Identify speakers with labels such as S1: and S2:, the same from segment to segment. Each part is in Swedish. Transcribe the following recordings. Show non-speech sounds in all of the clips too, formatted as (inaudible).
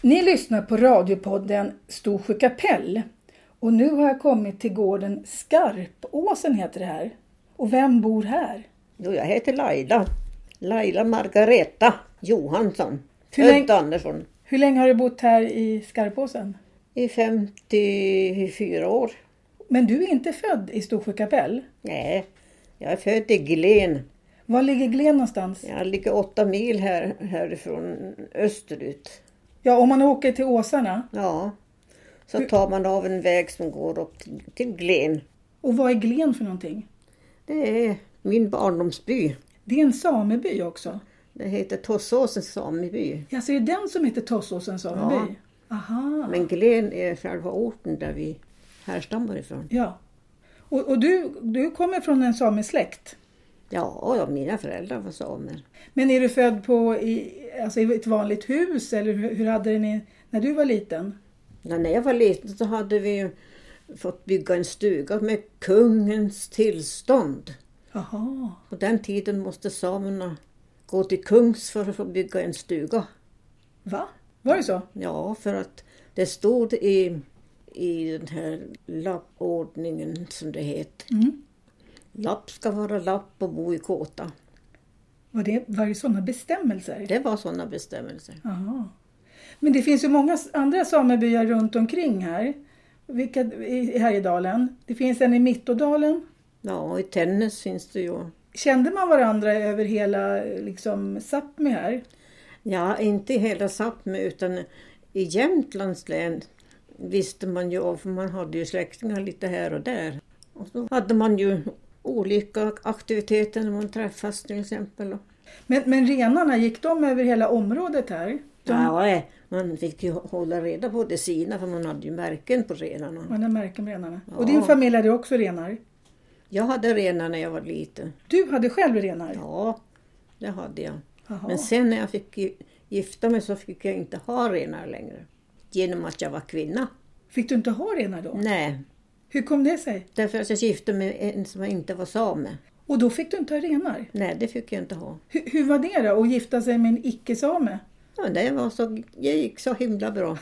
S1: Ni lyssnar på radiopodden Storsjö kapell. Och nu har jag kommit till gården Skarpåsen heter det här. Och vem bor här?
S2: Jo, jag heter Laila. Laila Margareta Johansson.
S1: Hur länge-
S2: Född Andersson.
S1: Hur länge har du bott här i Skarpåsen?
S2: I 54 år.
S1: Men du är inte född i Storsjö kapell?
S2: Nej, jag är född i Glen.
S1: Var ligger Glen någonstans?
S2: Jag ligger åtta mil här, härifrån österut.
S1: Ja, om man åker till Åsarna.
S2: Ja. Så tar man av en väg som går upp till, till Glen.
S1: Och vad är Glen för någonting?
S2: Det är min barndomsby.
S1: Det är en sameby också.
S2: Det heter Tossåsens sameby.
S1: Alltså är det den som heter Tossåsens sameby? Aha.
S2: Men Glen är själva orten där vi härstammar ifrån.
S1: Ja. Och, och du, du kommer från en samesläkt.
S2: Ja, ja mina föräldrar var samer.
S1: Men är du född på i, alltså i ett vanligt hus eller hur, hur hade ni när du var liten?
S2: Ja, när jag var liten så hade vi fått bygga en stuga med kungens tillstånd.
S1: Jaha.
S2: På den tiden måste samerna gå till kungs för att få bygga en stuga.
S1: Va? Var det så?
S2: Ja, för att det stod i, i den här lappordningen som det heter.
S1: Mm.
S2: Lapp ska vara lapp och bo i kåta.
S1: Var det, var det sådana bestämmelser?
S2: Det var sådana bestämmelser.
S1: Jaha. Men det finns ju många s- andra samebyar runt omkring här. Vilka, i i Härjedalen. Det finns en i Mittådalen.
S2: Ja, och i Tännäs finns det ju.
S1: Kände man varandra över hela liksom, Sápmi här?
S2: Ja, inte i hela Sápmi utan i Jämtlands län visste man ju av, för man hade ju släktingar lite här och där. Och så hade man ju olika aktiviteter när man träffas till exempel.
S1: Men, men renarna, gick de över hela området här? De,
S2: Ja, eh, man fick ju hålla reda på det sina för man hade ju märken på renarna.
S1: Man har märken med renarna.
S2: Ja.
S1: Och din familj hade också renar?
S2: Jag hade renar när jag var liten.
S1: Du hade själv renar?
S2: Ja, det hade jag.
S1: Jaha.
S2: Men sen när jag fick gi- gifta mig så fick jag inte ha renar längre. Genom att jag var kvinna.
S1: Fick du inte ha renar då?
S2: Nej,
S1: Hur kom det sig?
S2: därför att jag gifte mig med en som inte var same.
S1: Och då fick du inte ha renar?
S2: Nej, det fick jag inte ha.
S1: Hur, hur var det då, att gifta sig med en icke-same? (laughs)
S2: Ja, det var så, jag gick så himla bra.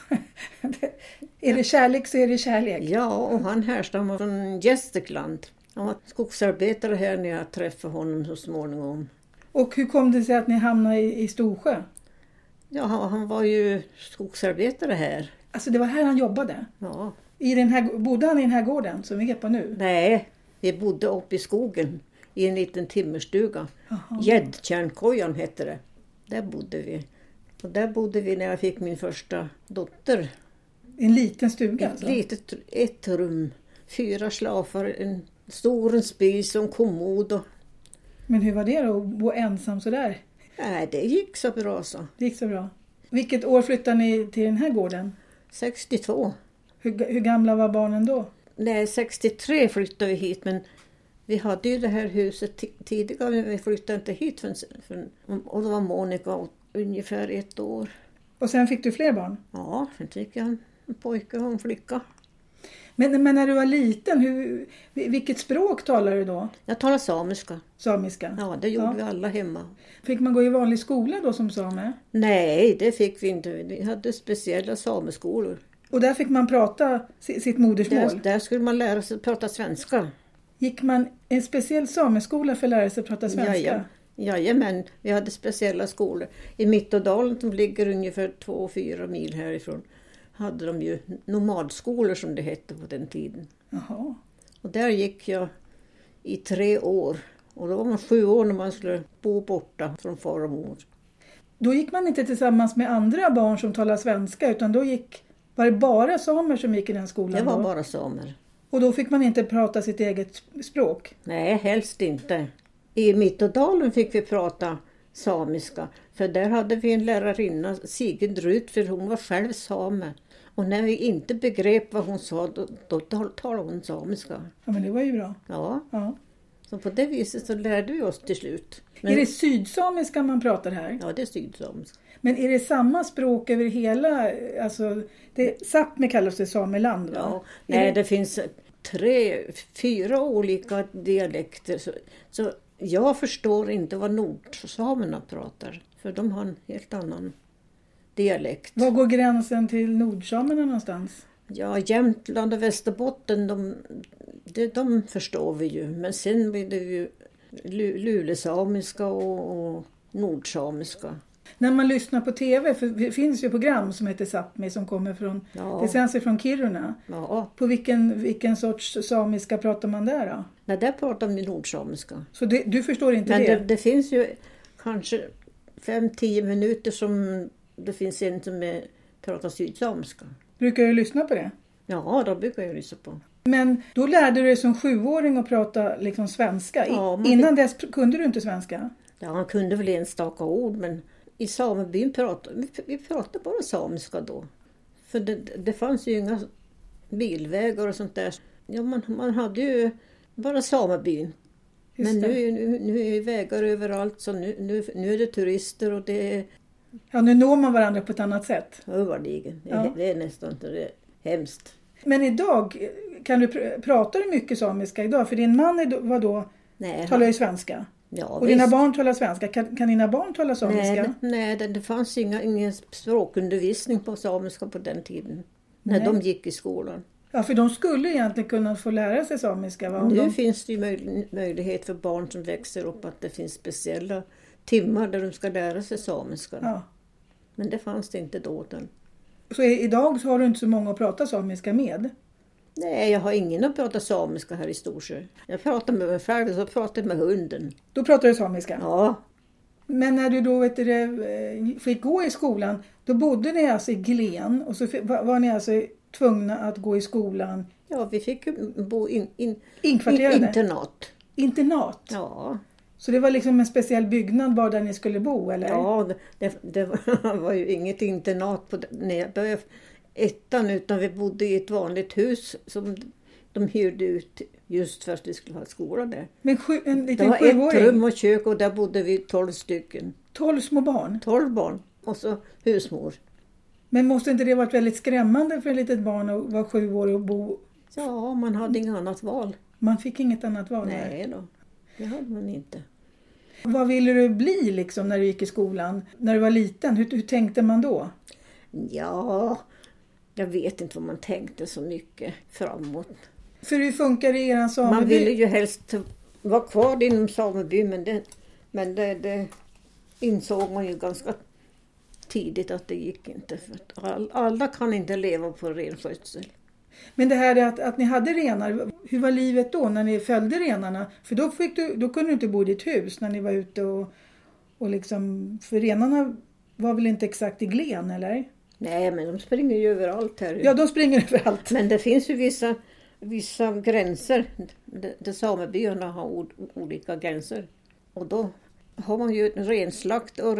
S1: Det- är det kärlek så är det kärlek.
S2: Ja, och han härstammar från Gästrikland. Han var skogsarbetare här när jag träffade honom så småningom.
S1: Och hur kom det sig att ni hamnade i, i Storsjö?
S2: Ja, han han var ju skogsarbetare här.
S1: Alltså det var här han jobbade?
S2: Ja,
S1: I den här, bodde han i den här gården som vi är på nu?
S2: nej, vi bodde uppe i skogen i en liten timmerstuga.
S1: Jaha.
S2: Gäddtjärnkojan hette det. Där bodde vi. Och där bodde vi när jag fick min första dotter.
S1: I en liten stuga
S2: Ett
S1: alltså?
S2: litet ett rum, fyra slafar, en stor spis och en kommod. Och...
S1: Men hur var det då att bo ensam sådär?
S2: Nej, det gick så bra så.
S1: Det gick så bra. Vilket år flyttade ni till den här gården?
S2: 62.
S1: Hur, hur gamla var barnen då?
S2: Nej, 63 flyttade vi hit men vi hade ju det här huset ti- tidigare men vi flyttade inte hit förrän, förrän, och då var Monica åt- ungefär ett år.
S1: Och sen fick du fler barn?
S2: Ja, sen fick jag en pojke och en flicka.
S1: Men, men när du var liten, hur, vil- vilket språk talade du då?
S2: Jag talar samiska.
S1: Samiska?
S2: Ja, det gjorde
S1: Ja.
S2: vi alla hemma.
S1: Fick man gå i vanlig skola då som same?
S2: Nej, det fick vi inte. Vi hade speciella sameskolor.
S1: Och där fick man prata si- sitt
S2: Där,
S1: modersmål?
S2: där skulle man lära sig att prata svenska.
S1: Gick man en speciell sameskola för att lära sig att prata svenska?
S2: Jaja. Jajamän, vi hade speciella skolor. I Mittådalen som ligger ungefär 2-4 mil härifrån hade de ju nomadskolor som det hette på den tiden.
S1: Jaha.
S2: Och där gick jag i tre år. Och då var man sju år när man skulle bo borta från far och mor.
S1: Då gick man inte tillsammans med andra barn som talar svenska utan då gick, var det bara samer som gick i den skolan?
S2: Det
S1: då?
S2: var bara samer.
S1: Och då fick man inte prata sitt eget sp- språk?
S2: Nej, helst inte. I Mittådalen fick vi prata samiska. För där hade vi en lärarinna, Sigrid Rutfer, hon var själv same. Och när vi inte begrep vad hon sa, då, då tal- talade hon samiska.
S1: Ja men det var ju bra.
S2: Ja,
S1: Ja.
S2: så på det viset så lärde vi oss till slut. Men,
S1: Är det sydsamiska man pratar här?
S2: Ja, det är sydsamiska.
S1: Men är det samma språk över hela, alltså, det, Sápmi kallas det sameland va?
S2: Ja.
S1: Är
S2: Nej,
S1: det,
S2: det finns tre, fyra olika dialekter. Så, så jag förstår inte vad nordsamerna pratar, för de har en helt annan dialekt.
S1: Var går gränsen till nordsamerna någonstans?
S2: Ja, Jämtland och Västerbotten, de, de, de förstår vi ju. Men sen blir det ju lu- lulesamiska och, och nordsamiska.
S1: När man lyssnar på TV, för det finns ju program som heter Sápmi som kommer från,
S2: Ja.
S1: det sänds ju från Kiruna.
S2: Ja,
S1: På vilken, vilken sorts samiska pratar man där då?
S2: nej, där pratar de ju nordsamiska.
S1: Så det, du förstår inte
S2: Men
S1: det?
S2: det, det finns ju kanske 5-10 minuter som det finns en som är, pratar sydsamiska.
S1: Brukar du lyssna på det?
S2: Ja, det brukar jag lyssna på.
S1: Men då lärde du dig som sjuåring att prata liksom svenska. I,
S2: Ja, man-
S1: Innan dess pr- kunde du inte svenska.
S2: Ja, han kunde väl enstaka ord men i samebyn pratade vi, vi pratade bara samiska då. För det, det fanns ju inga bilvägar och sånt där. Ja, man, man hade ju bara samebyn.
S1: Just
S2: men
S1: det.
S2: nu, är- nu, nu är ju vägar överallt så nu, nu, nu är det turister och det är
S1: Ja, nu når man varandra på ett annat sätt.
S2: överligen. Det,
S1: Ja.
S2: är- det är nästan det är hemskt.
S1: Men idag, kan du pr- pratar du mycket samiska idag? För din man är då, var då,
S2: Nej,
S1: talar ju svenska.
S2: ja,
S1: Och dina barn talar svenska. Kan, kan dina barn tala samiska?
S2: Nej, det- nej det, det fanns inga, ingen språkundervisning på samiska på den tiden. När de gick i skolan.
S1: Ja, för de skulle egentligen kunna få lära sig samiska. Va? Om
S2: Nu
S1: de...
S2: finns det ju möj- möjlighet för barn som växer upp att det finns speciella timmar där de ska lära sig samiska.
S1: ja.
S2: Men det fanns det inte då. Utan...
S1: Så i- idag så har du inte så många att prata samiska med.
S2: Nej, jag har ingen att prata samiska här i Storsjö. Jag pratar med mig själv och så pratar jag med hunden.
S1: Då pratar du samiska.
S2: Ja,
S1: Men när du då vet du, det, fick gå i skolan, då bodde ni alltså i Glen och så fi- var var ni alltså tvungna att gå i skolan
S2: ja vi fick ju bo in, in,
S1: Inkvarterade?
S2: in, internat.
S1: internat.
S2: Ja,
S1: Så det var liksom en speciell byggnad bara där ni skulle bo eller?
S2: ja det- det, det var- (laughs) var ju inget internat på, när jag började ettan utan vi bodde i ett vanligt hus som de hyrde ut just för att vi skulle ha skola där.
S1: Men sju, en
S2: Det
S1: liten
S2: var ett rum
S1: sjuåring,
S2: och kök och där bodde vi 12 stycken.
S1: tolv små barn.
S2: 12 barn och så husmor.
S1: Men måste inte det varit väldigt skrämmande för ett litet barn att vara sju år och bo?
S2: Ja, man hade inget annat val.
S1: Man fick inget annat val. där.
S2: Nej då, det hade man inte.
S1: Vad ville du bli liksom när du gick i skolan? När du var liten, hur, hur tänkte man då?
S2: Ja, jag vet inte vad man tänkte så mycket framåt.
S1: För hur funkar det i eran sameby?
S2: Man ville ju helst vara kvar inom sameby men, det, men det, det insåg man ju ganska tidigt att det gick inte. För att all, alla kan inte leva på renskötsel.
S1: Men det här är att, att ni hade renar, hur var livet då när ni följde renarna? För då, fick du, då kunde du inte bo i ditt hus när ni var ute och, och liksom, för renarna var väl inte exakt i glen eller?
S2: Nej, men de springer ju överallt här.
S1: Ja, de springer överallt.
S2: Men det finns ju vissa, vissa gränser d- där samebyarna har ol- olika gränser. Och då har man ju en renslakt och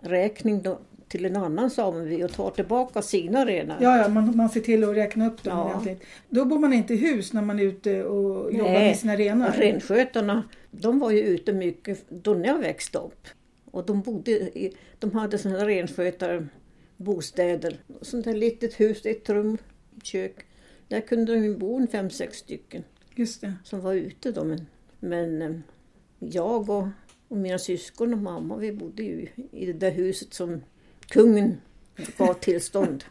S2: renräkning då, till en annan sameby och tar tillbaka sina renar.
S1: Ja, ja man, man ser till att räkna upp dem
S2: Ja.
S1: ordentligt. Då bor man inte i hus när man är ute och jobbar
S2: Nej,
S1: med sina renar.
S2: och Renskötarna, de var ju ute mycket då när jag växte upp. Och de bodde i, de hade sådana här renskötarbostäder. Sånt här litet hus, ett rum, kök. Där kunde de ju bo en fem, sex stycken.
S1: Just det.
S2: som var ute då. Men, men eh, jag och, och mina syskon och mamma vi bodde ju i det där huset som kungen gav tillstånd.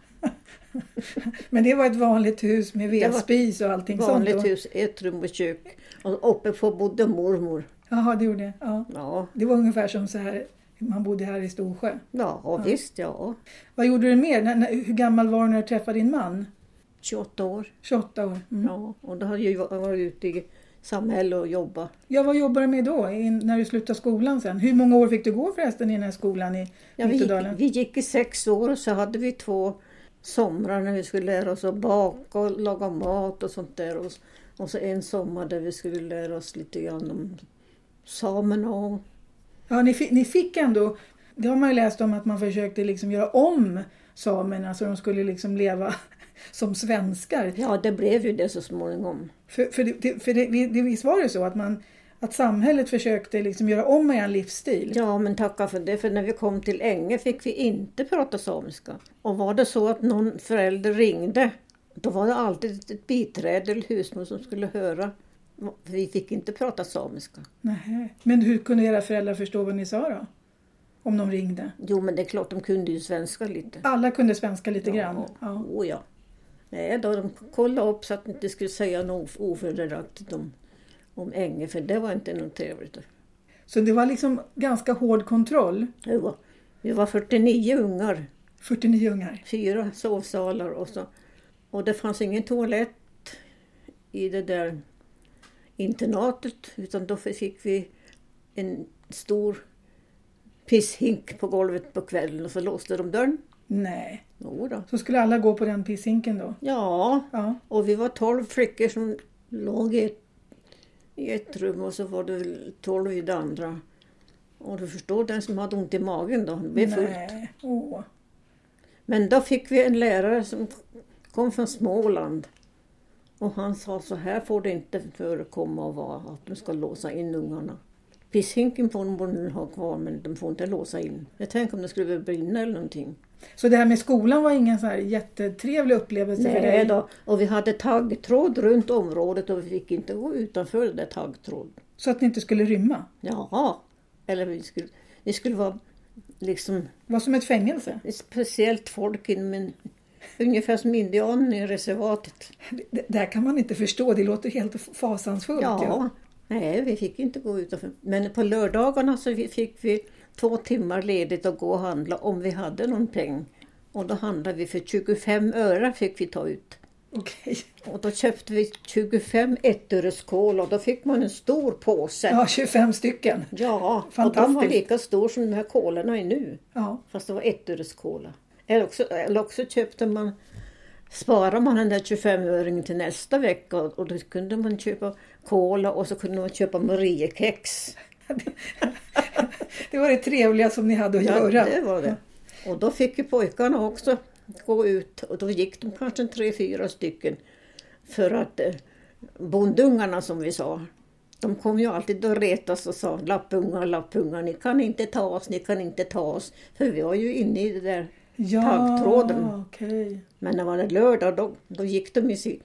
S1: Men det var ett vanligt hus med
S2: var
S1: vedspis och allting sånt.
S2: Vanligt
S1: då?
S2: hus, ett rum och kök. Och uppe på bodde mormor.
S1: Jaha, det gjorde det. Ja.
S2: Ja,
S1: Det var ungefär som så här, man bodde här i Storsjö.
S2: ja, visst ja.
S1: Vad gjorde du mer? När, när, hur gammal var du när du träffade din man?
S2: 28 år.
S1: 28 år. Mm.
S2: Ja, och då hade jag ju va- varit ute i samhället och jobbat.
S1: Ja, vad jobbade du med då, in, när du slutade skolan sen? Hur många år fick du gå förresten i den här skolan i
S2: Ja, vi, gick,
S1: Nittedalen?
S2: vi gick i sex år och så hade vi två somrar när vi skulle lära oss att baka och laga mat och sånt där. Och, och så en sommar där vi skulle lära oss lite grann om samerna och...
S1: Ja, ni, fi- ni fick ändå, det har man ju läst om att man försökte liksom göra om samerna så de skulle liksom leva (laughs) som svenskar.
S2: Ja, det blev ju det så småningom.
S1: För, för, det- det, för det, vi- det, visst var det så att, man, att samhället försökte liksom göra om er livsstil?
S2: Ja, men tacka för det, för när vi kom till Änge fick vi inte prata samiska. Och var det så att någon förälder ringde, då var det alltid ett biträde eller husmor som skulle höra. Vi fick inte prata samiska.
S1: Nähä. Men hur kunde era föräldrar förstå vad ni sa då? om de ringde.
S2: Jo, men det är klart de kunde ju svenska lite.
S1: Alla kunde svenska lite grann. Ja.
S2: Oh, ja. Nej, då de kollade upp så att de inte skulle säga något ofördelaktigt om, om Änge, för det var inte något trevligt.
S1: Så det var liksom ganska hård kontroll.
S2: Jo, vi var 49 ungar,
S1: 49 ungar.
S2: fyra sovsalar och så. Och det fanns ingen toalett i det där internatet, utan då fick vi en stor pisshink på golvet på kvällen och så låste de dörren.
S1: Nej.
S2: Jo då.
S1: Så skulle alla gå på den pisshinken då?
S2: Ja,
S1: Ja.
S2: Och vi var tolv flickor som låg i ett, i ett rum och så var det väl tolv i det andra. Och du förstår den som hade ont i magen då, det blev fullt.
S1: Nej. Åh.
S2: Men då fick vi en lärare som kom från Småland. Och han sa så här får det inte förekomma och vara att de ska låsa in ungarna. Pisshinken får de nu ha kvar men de får inte låsa in. Jag tänker om det skulle brinna eller någonting.
S1: Så det här med skolan var ingen så här jättetrevlig upplevelse för
S2: Nej
S1: dig?
S2: då. Och vi hade taggtråd runt området och vi fick inte gå utanför det där taggtråd.
S1: Så att ni inte skulle rymma?
S2: Jaha. Eller vi skulle, vi skulle vara liksom
S1: Det var som ett fängelse?
S2: ett speciellt folk inom en, ungefär som indianerna i reservatet.
S1: Det, det här kan man inte förstå, det låter helt fasansfullt. ju.
S2: Ja. Nej, vi fick inte gå utanför. Men på lördagarna så vi- fick vi två timmar ledigt att gå och handla om vi hade någon peng. Och då handlade vi för 25 öre fick vi ta ut.
S1: Okej.
S2: Och då köpte vi 25 ettöresskål och då fick man en stor påse.
S1: Ja, 25 stycken.
S2: Ja, och de var
S1: Fantastiskt.
S2: lika stor som de här kolorna är nu.
S1: Ja.
S2: Fast det var ettöreskola. Eller också, eller också köpte man, sparade man den där 25-öringen till nästa vecka och, och då kunde man köpa kola och så kunde man köpa Mariekex.
S1: Det var det trevliga som ni hade att göra.
S2: det var det. Och då fick ju pojkarna också gå ut och då gick de kanske en tre, fyra stycken. För att eh, bondungarna som vi sa, de kom ju alltid och retas och sa lappungar, lappungar, ni kan inte ta oss, ni kan inte ta oss. För vi var ju inne i det där
S1: Ja,
S2: taggtråden.
S1: okej.
S2: Men när det var lördag då, då gick de i si-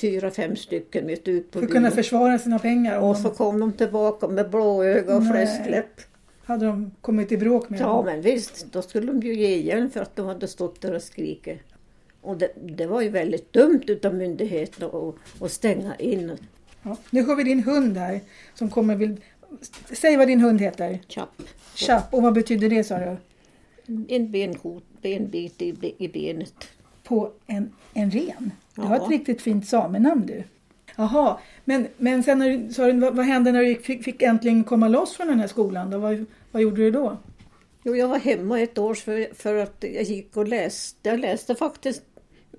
S2: fyra, fem stycken vet, du, ut på
S1: För att kunna
S2: byn.
S1: försvara sina pengar. om
S2: Och
S1: de-
S2: så kom de tillbaka med blåöga och
S1: Nej.
S2: fläskläpp.
S1: Hade de kommit i bråk med
S2: Ja
S1: dem?
S2: men visst, då skulle de ju ge igen för att de hade stått där och skrikit. Och det, det var ju väldigt dumt utav myndigheterna att- att stänga in
S1: Ja. Nu har vi din hund här som kommer vill... Säg vad din hund heter.
S2: Chapp.
S1: Chapp. Och vad betyder det sa du? Mm.
S2: En benkot, benbit i, be- i benet.
S1: På en, en ren? Du har
S2: Ja.
S1: ett riktigt fint samenamn du. Jaha, men, men sen när du, sa du, vad, vad hände när du gick- fick, fick äntligen komma loss från den här skolan? Då? Vad, vad gjorde du då?
S2: Jo, jag var hemma ett år för, för att jag gick och läste. Jag läste faktiskt,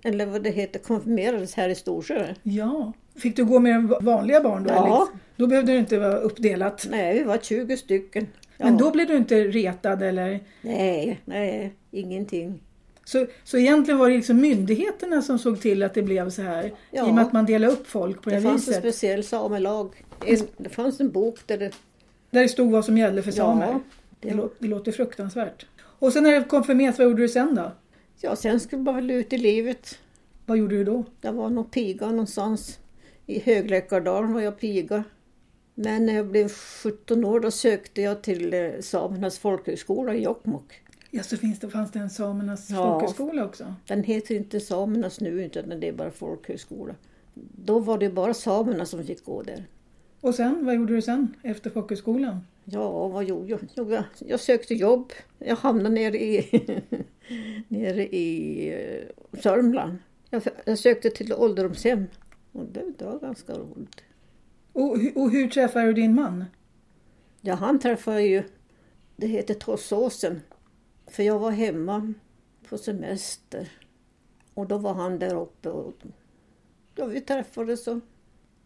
S2: eller vad det heter, konfirmerades här i Storsjö.
S1: Ja, fick du gå med de vanliga barn då?
S2: Ja.
S1: Alex? Då behövde det inte vara uppdelat.
S2: Nej, vi var 20 stycken. Ja.
S1: Men då blev du inte retad eller?
S2: Nej, nej, ingenting.
S1: Så, så egentligen var det liksom myndigheterna som såg till att det blev så här?
S2: Ja.
S1: I och med att man delade upp folk på det,
S2: Det
S1: här
S2: fanns en
S1: viset?
S2: speciell samelag. En, det fanns en bok där det...
S1: Där det stod vad som gällde för samer? Det,
S2: det,
S1: lå- det låter fruktansvärt. Och sen när du konfirmerades, vad gjorde du sen då?
S2: ja, sen skulle man väl ut i livet.
S1: Vad gjorde du då?
S2: Jag var nog piga någonstans. I Högläkardalen var jag piga. Men när jag blev 17 år då sökte jag till eh, Samernas folkhögskola i Jokkmokk.
S1: Ja, så finns det, fanns det en samernas
S2: Ja.
S1: folkhögskola också?
S2: Den heter inte Samernas nu utan det är bara folkhögskola. Då var det bara samerna som fick gå där.
S1: Och sen, vad gjorde du sen efter folkhögskolan?
S2: Ja, vad gjorde jag? Jo, jag, jag sökte jobb. Jag hamnade nere i, (laughs) nere i eh, Sörmland. Jag, jag sökte till ålderdomshem. Och det, det var ganska roligt.
S1: Och, hu- och hur träffade du din man?
S2: Ja, han träffade ju, det heter Tossåsen. För jag var hemma på semester. Och då var han där uppe och ja, vi träffades och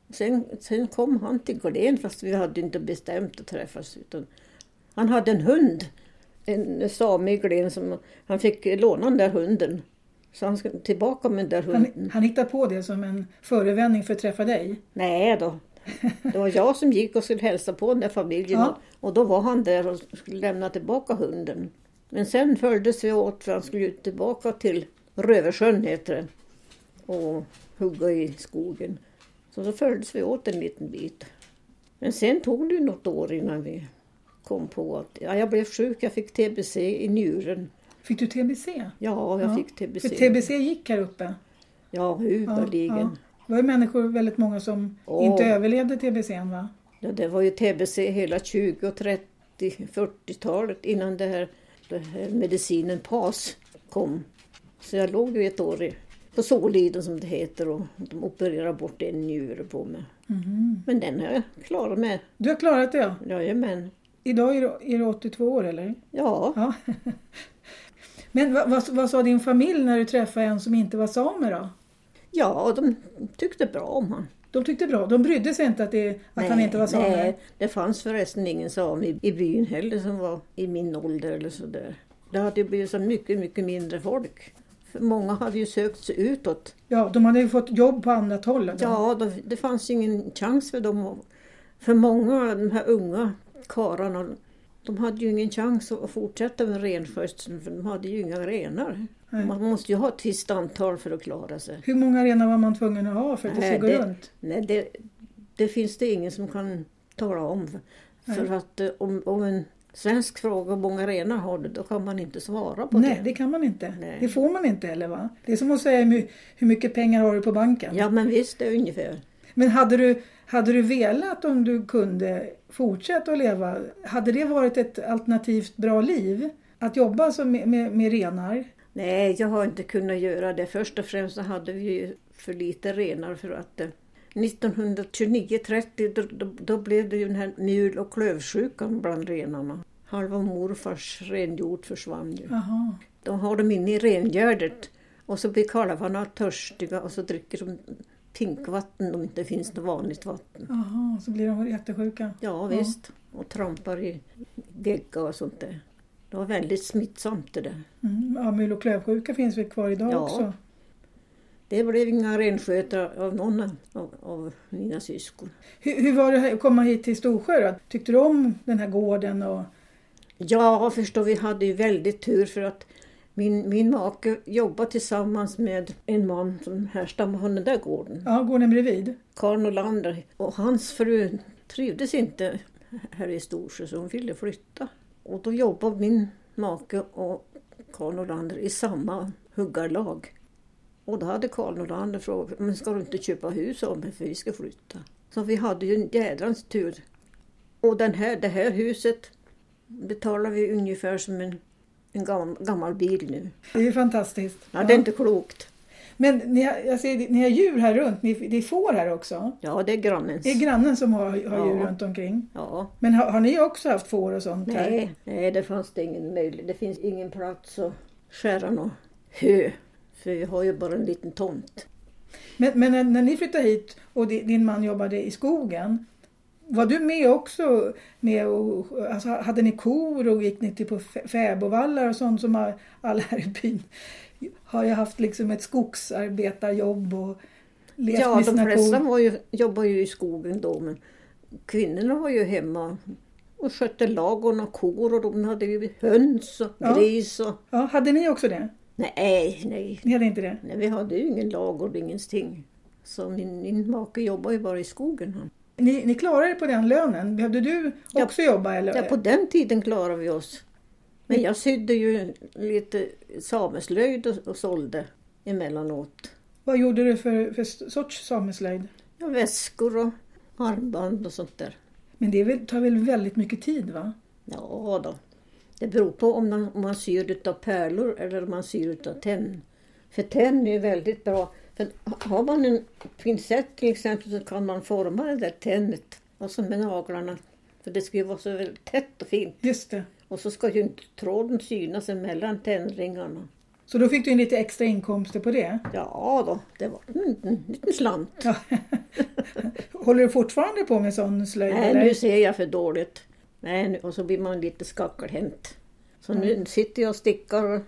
S2: sen, sen kom han till Glen fast vi hade inte bestämt att träffas. Utan han hade en hund, en same i Glen som han fick låna den där hunden. Så han skulle tillbaka med den där hunden.
S1: Han, han hittade på det som en förevändning för att träffa dig.
S2: Nej då. Det var jag som gick och skulle hälsa på den där familjen.
S1: Ja.
S2: Och då var han där och skulle lämna tillbaka hunden. Men sen följdes vi åt för han skulle ju tillbaka till Röversjön heter det. Och hugga i skogen. Så då följdes vi åt en liten bit. Men sen tog det ju något år innan vi kom på att ja, jag blev sjuk, jag fick TBC i njuren.
S1: Fick du TBC?
S2: Ja, jag
S1: Ja,
S2: fick TBC.
S1: För TBC gick här uppe.
S2: Ja,
S1: Ja,
S2: uberligen.
S1: ja. Det var ju människor, väldigt många som
S2: Åh.
S1: inte överlevde TBC n, va?
S2: Ja, det var ju TBC hela 20-, 30 40-talet innan det här, det här medicinen PAS kom. Så jag låg ju ett år i, på Soliden som det heter och de opererade bort en njure på mig.
S1: Mhm.
S2: Men den har jag klarat mig.
S1: Du har klarat det ja.
S2: Jajamän.
S1: Idag är du, är du 82 år eller?
S2: Ja,
S1: Ja. (laughs) Men vad, vad, vad sa din familj när du träffade en som inte var samer då?
S2: ja de tyckte bra om han.
S1: De tyckte bra, de brydde sig inte att, det, att han inte var same?
S2: Nej, det fanns förresten ingen same i, i byn heller som var i min ålder eller sådär. Det hade ju blivit så mycket, mycket mindre folk. För många hade ju sökt sig utåt.
S1: Ja, de hade ju fått jobb på annat håll. då.
S2: Ja, då, det fanns ingen chans för dem. att- För många av de här unga karlarna, de hade ju ingen chans att fortsätta med renskötseln för de hade ju inga renar.
S1: Nej.
S2: Man måste ju ha ett visst antal för att klara sig.
S1: Hur många renar var man tvungen att ha för att det
S2: Nej,
S1: skulle gå
S2: det-
S1: runt?
S2: Nej, det, det finns det ingen som kan tala om. För att eh, om, om en svensk frågar hur många renar har du, då kan man inte svara på
S1: Nej,
S2: det.
S1: det kan man inte.
S2: Nej.
S1: Det får man inte heller va? Det är som att säga hur my- hur mycket pengar har du på banken?
S2: Ja, men visst, det är ungefär.
S1: Men hade du, hade du velat om du kunde fortsätta att leva, hade det varit ett alternativt bra liv? Att jobba som med, med, med renar?
S2: Nej, jag har inte kunnat göra det. Först och främst så hade vi ju för lite renar för att eh, 1929-30 då, då, då blev det ju den här mul och klövsjukan bland renarna. Halva morfars renjord försvann ju.
S1: Jaha.
S2: De har dem inne i rengärdet och så blir kalvarna törstiga och så dricker de tinkvatten om det inte finns något vanligt vatten.
S1: Jaha, så blir de jättesjuka.
S2: Ja,
S1: Ja.
S2: visst. Och trampar i gegga och sånt där. Det var väldigt smittsamt det där.
S1: Mm. Ja, mul och klövsjuka finns väl kvar idag
S2: Ja.
S1: också?
S2: Det blev inga renskötare av någon av, av mina syskon.
S1: Hur, hur var det här- att komma hit till Storsjö då? Tyckte du om den här gården? Och...
S2: Ja, förstå, vi hade ju väldigt tur för att min, min make jobbade tillsammans med en man som härstammade från den där gården.
S1: Ja, gården bredvid?
S2: Karl Nolander. Och hans fru trivdes inte här i Storsjö så hon ville flytta. Och då jobbade min make och Karl Nolander i samma huggarlag. Och då hade Karl Nolander frågat men ska du inte köpa hus av mig för vi ska flytta. Så vi hade ju en jädrans tur. Och den här, det här huset betalar vi ungefär som en, en gam, gammal bil nu.
S1: Det är ju fantastiskt.
S2: Ja, det är inte klokt.
S1: Men ni har, jag ser, ni har djur här runt, ni, det är får här också.
S2: Ja, det är grannens.
S1: Det är grannen som har, har djur
S2: Ja.
S1: runt omkring.
S2: Ja.
S1: Men har, har ni också haft får och sånt här?
S2: Nej, nej, det fanns det ingen möjlighet. Det finns ingen plats att skära något hö. För vi har ju bara en liten tomt.
S1: Men, men när, när ni flyttade hit och di- din man jobbade i skogen, var du med också? Med och, alltså, hade ni kor och gick ni till på fä- fäbodvallar och sånt som har- alla här i byn har ju haft liksom ett skogsarbetarjobb och levt
S2: Ja,
S1: med
S2: de
S1: sina
S2: flesta
S1: kor.
S2: var ju, jobbade ju i skogen då, men kvinnorna var ju hemma och skötte ladugården och kor och de hade ju höns och
S1: Ja.
S2: gris och...
S1: Ja, hade ni också det?
S2: Nej, nej,
S1: Ni hade inte det?
S2: nej, vi hade ju ingen ladugård, ingenting. Så min, min make jobbade ju bara i skogen. Han.
S1: Ni, ni klarade er på den lönen. Behövde du
S2: Ja.
S1: också jobba? Eller?
S2: Ja, på den tiden klarade vi oss. Men jag sydde ju lite sameslöjd och, och sålde emellanåt.
S1: Vad gjorde du för, för sorts sameslöjd?
S2: Ja, väskor och armband och sånt där.
S1: Men det är väl- tar väl väldigt mycket tid va?
S2: Ja då. Det beror på om man, om man syr utav pärlor eller om man syr utav tenn. För tenn är ju väldigt bra. För har man en pincett till exempel så kan man forma det där tennet. Och så med naglarna. För det ska ju vara så väldigt tätt och fint.
S1: Just det.
S2: Och så ska ju inte tråden synas emellan tändringarna.
S1: Så då fick du in lite extra inkomster på det.
S2: Ja då, det var en liten, liten slant.
S1: Ja. Håller du fortfarande på med sån slöjd?
S2: Nej,
S1: eller?
S2: nu ser jag för dåligt. Nej, nu, och så blir man lite skackelhänt. Så nu sitter jag och stickar. Och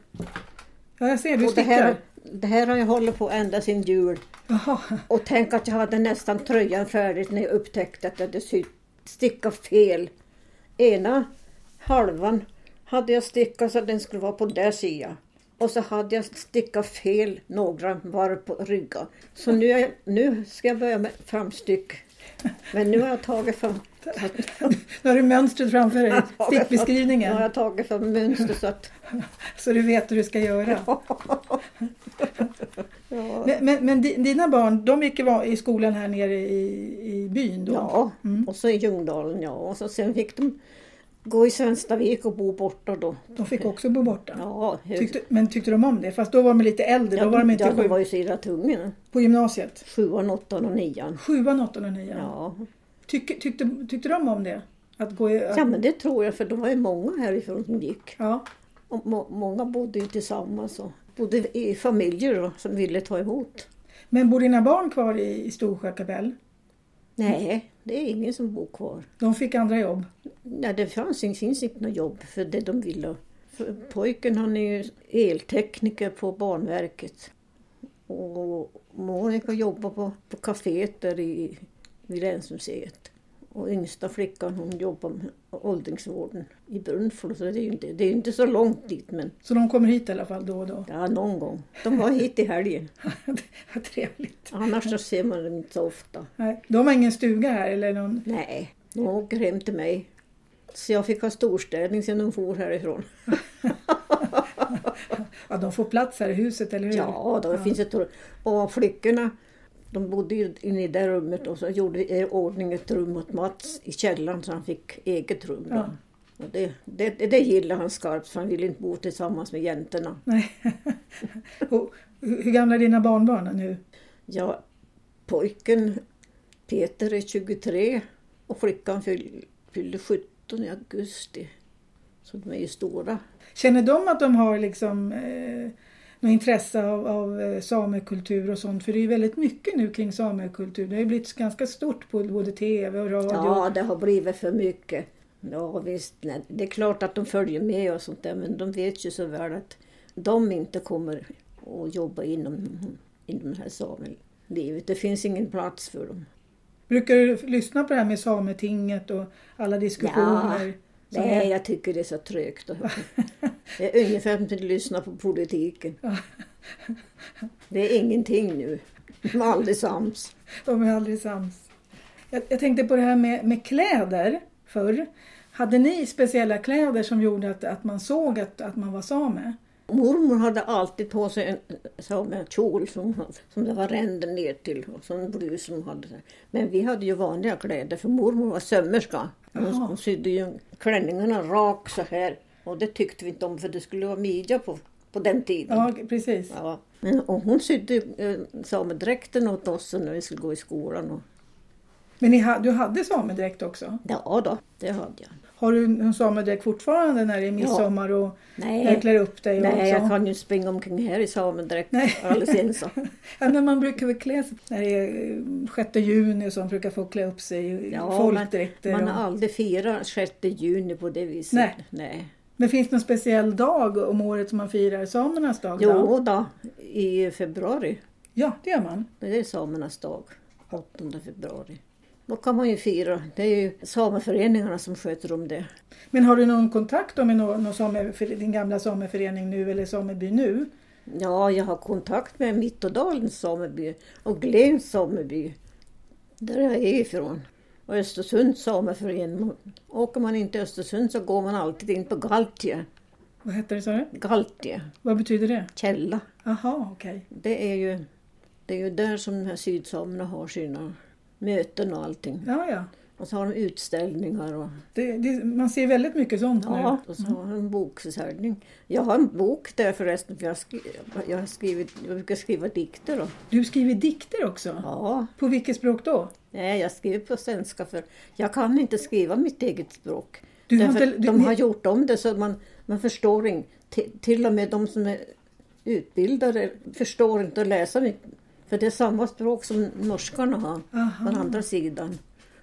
S1: Ja, jag ser, Mm. du
S2: och det, här,
S1: stickar.
S2: det här har jag hållit på ända sedan jul.
S1: Jaha.
S2: Och tänk att jag hade nästan tröjan färdig när jag upptäckte att jag hade sytt, stickat fel. Ena halvan hade jag stickat så att den skulle vara på där sidan. Och så hade jag stickat fel några varv på ryggen. Så nu, är, nu ska jag börja med framstyck. Men nu har jag tagit från,
S1: Nu har du mönstret framför
S2: (laughs)
S1: dig,
S2: nu har
S1: stickbeskrivningen.
S2: jag tagit från mönster så att...
S1: Så du vet hur du ska göra.
S2: Ja,
S1: Men, men, men di- dina barn, de gick i va- i skolan här nere i, i byn då?
S2: ja.
S1: Mm.
S2: och så i Ljungdalen ja. Och så sen fick de gå i Svenstavik och bo borta då.
S1: De fick också bo borta?
S2: Ja, hur...
S1: Tyckte, men tyckte de om det? Fast då var de lite äldre, då var de inte
S2: ja, de
S1: sju,
S2: var ju så illa tunga.
S1: på gymnasiet?
S2: Sjuan, åttan och nian.
S1: Sjuan, åttan och nian?
S2: Ja.
S1: Tyck, tyckte, tyckte de om det? Att gå i, att,
S2: ja, men det tror jag för de var ju många härifrån som gick.
S1: ja.
S2: Och må- många bodde ju tillsammans och bodde i familjer då, som ville ta emot.
S1: Men bor dina barn kvar i, i Storsjö kapell?
S2: Nej, det är ingen som bor kvar.
S1: De fick andra jobb?
S2: Nej, det fanns inte, finns inte något jobb för det de ville. För pojken han är ju eltekniker på Banverket. Och Monica jobbar på, på kaféet där i, vid Länsmuseet. Och yngsta flickan hon jobbar med åldringsvården i Brunflo. Så det är ju inte, det är ju inte så långt dit men
S1: Så de kommer hit i alla fall då och då?
S2: ja, någon gång. De var hit i helgen.
S1: (laughs) Vad trevligt.
S2: Annars så ser man dem inte så ofta.
S1: Nej, de har ingen stuga här eller någon...
S2: Nej, de åker hem till mig. Så jag fick ha storstädning sen de for härifrån.
S1: Ja, de får plats här i huset, eller hur?
S2: Ja, då, det finns ett rum. Och flickorna, de bodde ju inne i det rummet och så gjorde vi i ordning ett rum åt Mats i källaren så han fick eget rum. Då.
S1: Ja.
S2: Och det, det, det, det gillade han skarpt för han ville inte bo tillsammans med jäntorna.
S1: Nej. och, hur hur gamla är dina barnbarn nu?
S2: Ja, pojken Peter är 23 och flickan fyll, fyllde 17 i augusti. Så de är ju stora.
S1: Känner de att de har liksom eh, något intresse av, av eh, samekultur och sånt? För det är ju väldigt mycket nu kring samekultur. Det har ju blivit ganska stort på både tv och radio.
S2: Ja, det har blivit för mycket. Ja, visst. Nej, det är klart att de följer med och sånt där, men de vet ju så väl att de inte kommer att jobba inom, inom det här samelivet. Det finns ingen plats för dem.
S1: Brukar du lyssna på det här med Sametinget och alla diskussioner? som
S2: Nej, jag tycker det är så trögt. att höra. Det är ungefär som att lyssna på politiken. Det är ingenting nu. De är aldrig sams.
S1: De är aldrig sams. Jag, jag tänkte på det här med, med kläder förr. Hade ni speciella kläder som gjorde att, att man såg att, att man var same?
S2: Mormor hade alltid på sig en samekjol som, som det var ränder ner till och så en blus som hade. så här. Men vi hade ju vanliga kläder för mormor var sömmerska. Hon,
S1: Jaha.
S2: hon sydde ju klänningarna rak så här och det tyckte vi inte om för det skulle vara midja på, på den tiden.
S1: Ja, precis.
S2: Ja. Men, och hon sydde ju, eh, samedräkten åt oss när vi skulle gå i skolan. Och,
S1: Men ni, ha- du hade samedräkt också?
S2: ja då, det hade jag.
S1: Har du en samedräkt fortfarande när det är midsommar och när du
S2: Nej,
S1: klär upp dig? Och
S2: nej
S1: så?
S2: jag kan ju inte springa omkring här i samedräkt
S1: Nej.
S2: alldeles ensam.
S1: (laughs) ja, men man brukar väl klä sig när det är eh, 6 juni och så brukar folk klä upp sig i
S2: Ja,
S1: folkdräkter.
S2: Man
S1: och...
S2: har aldrig firat 6 juni på det viset.
S1: Nej.
S2: Nej.
S1: Men finns det någon speciell dag om året som man firar samernas dag? då?
S2: Jo då, i februari.
S1: Ja, det gör man.
S2: Det är samernas dag, 8 februari. Då kan man ju fira. Det är ju sameföreningarna som sköter om det.
S1: Men har du någon kontakt då med någon, någon same, för- din gamla sameförening nu eller sameby nu?
S2: Ja, jag har kontakt med Mittådalens sameby och Glens sameby, där jag är ifrån. Och Östersunds sameförening. Åker man inte till Östersund så går man alltid in på Galtie.
S1: Vad heter det, sa du?
S2: Galtie,
S1: Vad betyder det?
S2: källa.
S1: Jaha, okej.
S2: Det är ju, det är ju där som de här sydsamerna har sina möten och allting.
S1: Ja, ja.
S2: Och så har de utställningar och,
S1: Det, det, man ser väldigt mycket sånt
S2: ja,
S1: nu.
S2: och så har de en bokförsäljning. Jag har en bok där förresten, för jag, har skri- jag, har skrivit, jag brukar skriva dikter. Då.
S1: Du skriver dikter också.
S2: Ja,
S1: På vilket språk då?
S2: nej, jag skriver på svenska för jag kan inte skriva mitt eget språk.
S1: Du har
S2: Därför
S1: inte- du-
S2: de har gjort om det så man, man förstår inte. Till, till och med de som är utbildade förstår inte att läsa mitt. För det är samma språk som norskarna har. på den
S1: Aha.
S2: andra sidan.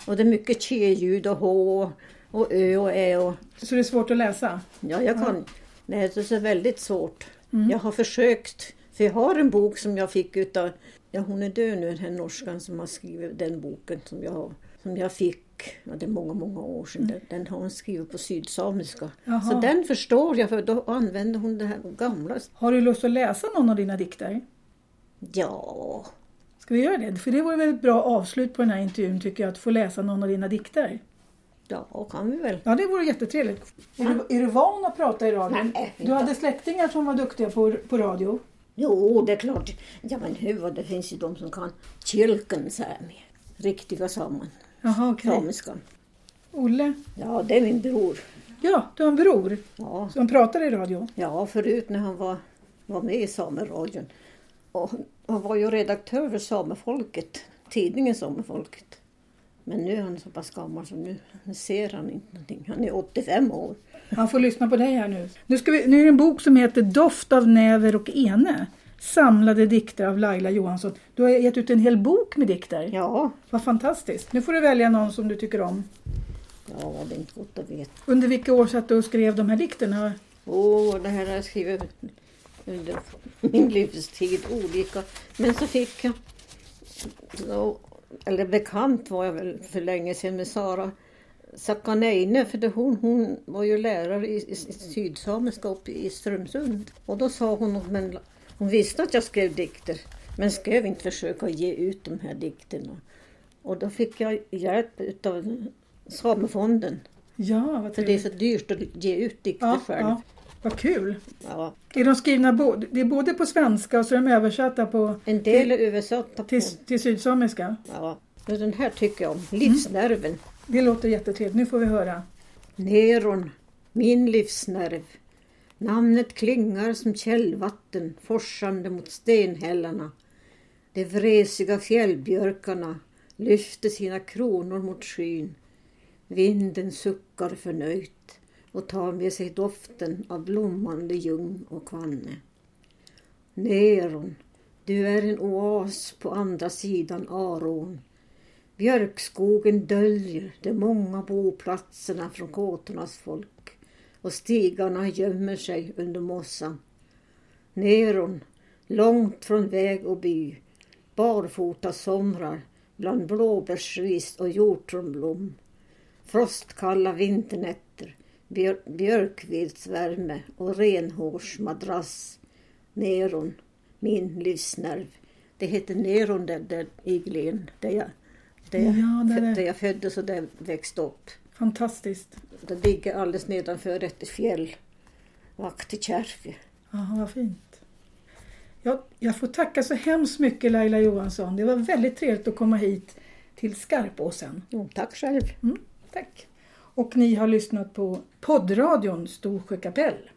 S2: Och det är mycket tje-ljud och h och ö och ä och...
S1: Så det är svårt att läsa?
S2: Ja, jag kan... Nej, det är så väldigt svårt. Jag har försökt, för jag har en bok som jag fick utav... Ja, hon är död nu, den här norskan som har skrivit den boken som jag, som jag fick. Ja, det är många, många år sedan. Den- Den har hon skrivit på sydsamiska.
S1: Jaha.
S2: Så den förstår jag, för då använder hon det här gamla.
S1: Har du lust att läsa någon av dina dikter?
S2: Ja,
S1: Ska vi göra det? För det vore väl ett bra avslut på den här intervjun tycker jag, att få läsa någon av dina dikter.
S2: Ja, kan vi väl.
S1: Ja, det vore jättetrevligt. Är, du, är du van att prata i radion?
S3: Nej,
S1: Du hade släktingar som var duktiga på, på radio.
S3: Jo, det är klart. Ja, men hur? Det finns ju de som kan kyrkan så här med. Riktiga saman.
S1: Jaha, okej.
S3: Samiskan.
S1: Olle?
S3: Ja, det är min bror.
S1: Ja, du har en bror
S3: Ja,
S1: som pratar i radio.
S3: ja
S2: Förut när han var, var med i Sameradion. Och han- han var ju redaktör för Samefolket, tidningen Samefolket. Men nu är han så pass gammal så nu nu ser han inte någonting. Han är 85 år.
S1: Han får lyssna på dig här nu. Nu, ska vi, nu är det en bok som heter Doft av näver och ene. Samlade dikter av Laila Johansson. Du har gett ut en hel bok med dikter.
S2: Ja,
S1: Vad fantastiskt. Nu får du välja någon som du tycker om.
S2: ja det är inte gott att veta.
S1: Under vilka år satt du och skrev de här dikterna?
S2: Åh, det här har jag skrivit under min livstid olika. Men så fick jag, ja, eller bekant var jag väl för länge sedan med Sara Sakaneine, för det hon, hon var ju lärare i, i, i sydsamiska uppe i Strömsund. Och då sa hon att men, hon visste att jag skrev dikter, men ska jag inte försöka ge ut de här dikterna? Och då fick jag hjälp av Samefonden,
S1: Ja, vad
S2: för det är
S1: trevligt.
S2: så dyrt att ge ut dikter
S1: Mm. Ja,
S2: själv.
S1: ja. Vad kul.
S2: Ja.
S1: Är de skrivna bo- det är både på svenska och så är de översatta på,
S2: En del är översatta på.
S1: till, till sydsamiska?
S2: Ja. Men Den här tycker jag om. Livsnerven.
S1: Det låter jättetrevligt. Nu får vi höra.
S2: Neron, min livsnerv. Namnet klingar som källvatten forsande mot stenhällarna. De vresiga fjällbjörkarna lyfter sina kronor mot skyn. Vinden suckar förnöjt och tar med sig doften av blommande ljung och kvanne. Neron, du är en oas på andra sidan Aron. Björkskogen döljer de många boplatserna från kåtornas folk och stigarna gömmer sig under mossan. Neron, långt från väg och by, barfota somrar bland blåbärsris och hjortronblom. Frostkalla vinternätter, björ- björkviltsvärme och renhårsmadrass. Neron, min livsnerv. Det heter Neron där, där i Glen, där jag, där, jag,
S1: Ja, där är-
S2: där jag föddes och där jag växte upp.
S1: Fantastiskt.
S2: Det ligger alldeles nedanför ett fjäll. Vaktikärvi.
S1: Jaha, vad fint. Jag, jag får tacka så hemskt mycket Laila Johansson. Det var väldigt trevligt att komma hit till Skarpåsen. Mm,
S2: Jo, tack själv.
S1: Tack. Och ni har lyssnat på poddradion Storsjö kapell.